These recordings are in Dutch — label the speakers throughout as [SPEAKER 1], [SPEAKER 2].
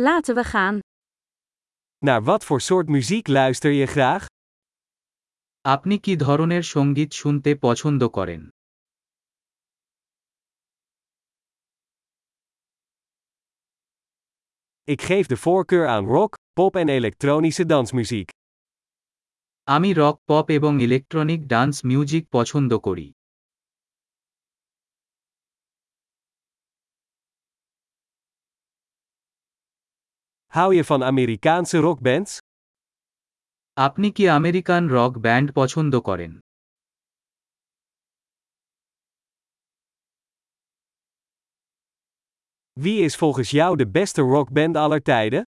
[SPEAKER 1] Laten we gaan.
[SPEAKER 2] Naar wat voor soort muziek luister je graag?
[SPEAKER 3] আপনি কি ধরনের সঙ্গীত শুনতে পছন্দ করেন
[SPEAKER 2] Ik geef de voorkeur aan rock, pop en elektronische dansmuziek.
[SPEAKER 3] আমি রক পপ এবং ইলেকট্রনিক ডান্স মিউজিক পছন্দ করি
[SPEAKER 2] Hou je van Amerikaanse rockbands?
[SPEAKER 3] আপনি কি আমেরিকান রক ব্যান্ড পছন্দ করেন
[SPEAKER 2] Wie is volgens jou de beste rockband aller tijden?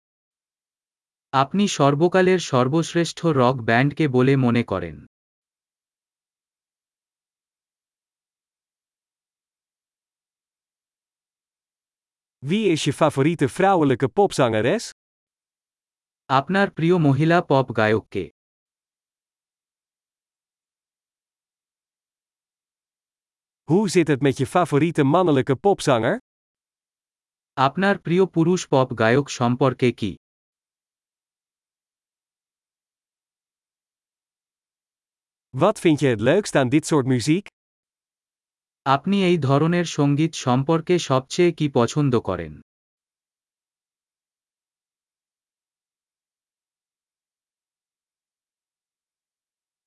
[SPEAKER 3] আপনি সর্বকালের সর্বশ্রেষ্ঠ রক ব্যান্ডকে বলে মনে করেন
[SPEAKER 2] Wie is je favoriete vrouwelijke popzangeres?
[SPEAKER 3] আপনার প্রিয় মহিলা পপ গায়ককে
[SPEAKER 2] Hoe zit het met je favoriete mannelijke popzanger?
[SPEAKER 3] আপনার প্রিয় পুরুষ পপ গায়ক সম্পর্কে কি
[SPEAKER 2] Wat vind je het leukst aan dit soort muziek?
[SPEAKER 3] আপনি এই ধরনের সঙ্গীত সম্পর্কে সবচেয়ে কি পছন্দ করেন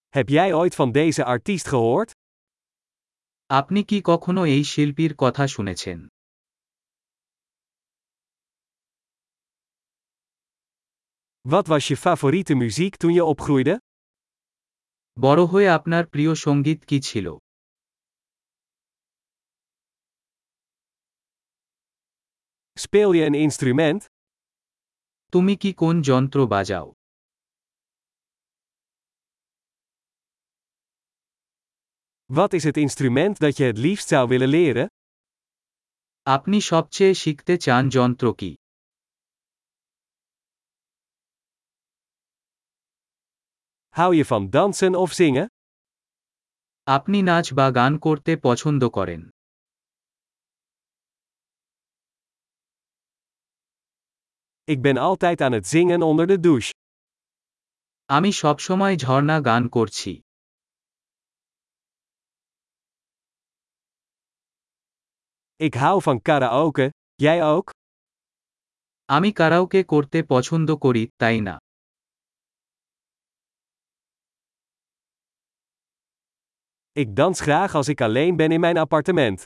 [SPEAKER 2] Heb jij ooit van deze artiest gehoord?
[SPEAKER 3] আপনি কি কখনো এই শিল্পীর কথা শুনেছেন
[SPEAKER 2] Wat was je favoriete muziek toen je opgroeide?
[SPEAKER 3] বড় হয়ে আপনার প্রিয় সঙ্গীত কি ছিল
[SPEAKER 2] Speel je een instrument?
[SPEAKER 3] তুমি কি কোন যন্ত্র বাজাও
[SPEAKER 2] Wat is het instrument dat je het liefst zou willen leren?
[SPEAKER 3] আপনি সবচেয়ে শিখতে চান যন্ত্র কি
[SPEAKER 2] Hou je van dansen of zingen?
[SPEAKER 3] আপনি নাচ বা গান করতে পছন্দ করেন
[SPEAKER 2] Ik ben altijd aan het zingen onder de douche.
[SPEAKER 3] আমি সবসময় ঝর্ণা গান করছি
[SPEAKER 2] Ik hou van karaoke, jij ook?
[SPEAKER 3] আমি কারাওকে করতে পছন্দ করি তাই না
[SPEAKER 2] Ik dans graag als ik alleen ben in mijn appartement.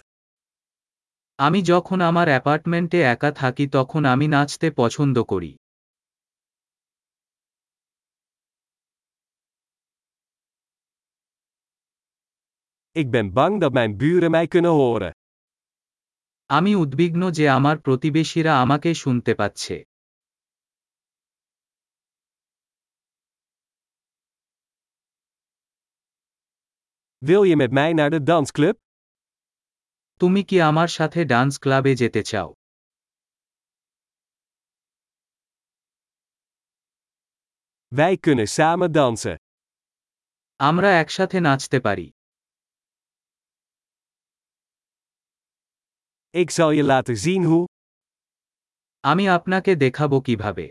[SPEAKER 3] আমি যখন আমার অ্যাপার্টমেন্টে একা থাকি তখন আমি নাচতে পছন্দ করি
[SPEAKER 2] Ik ben bang dat mijn buren mij kunnen horen.
[SPEAKER 3] আমি উদ্বিগ্ন যে আমার প্রতিবেশীরা আমাকে শুনতে পাচ্ছে
[SPEAKER 2] Wil je met mij naar de dansclub?
[SPEAKER 3] তুমি কি আমার সাথে ডান্স ক্লাবে যেতে চাও
[SPEAKER 2] Wij kunnen samen dansen.
[SPEAKER 3] আমরা একসাথে নাচতে পারি
[SPEAKER 2] Ik zal je laten zien hoe.
[SPEAKER 3] আমি আপনাকে দেখাবো কিভাবে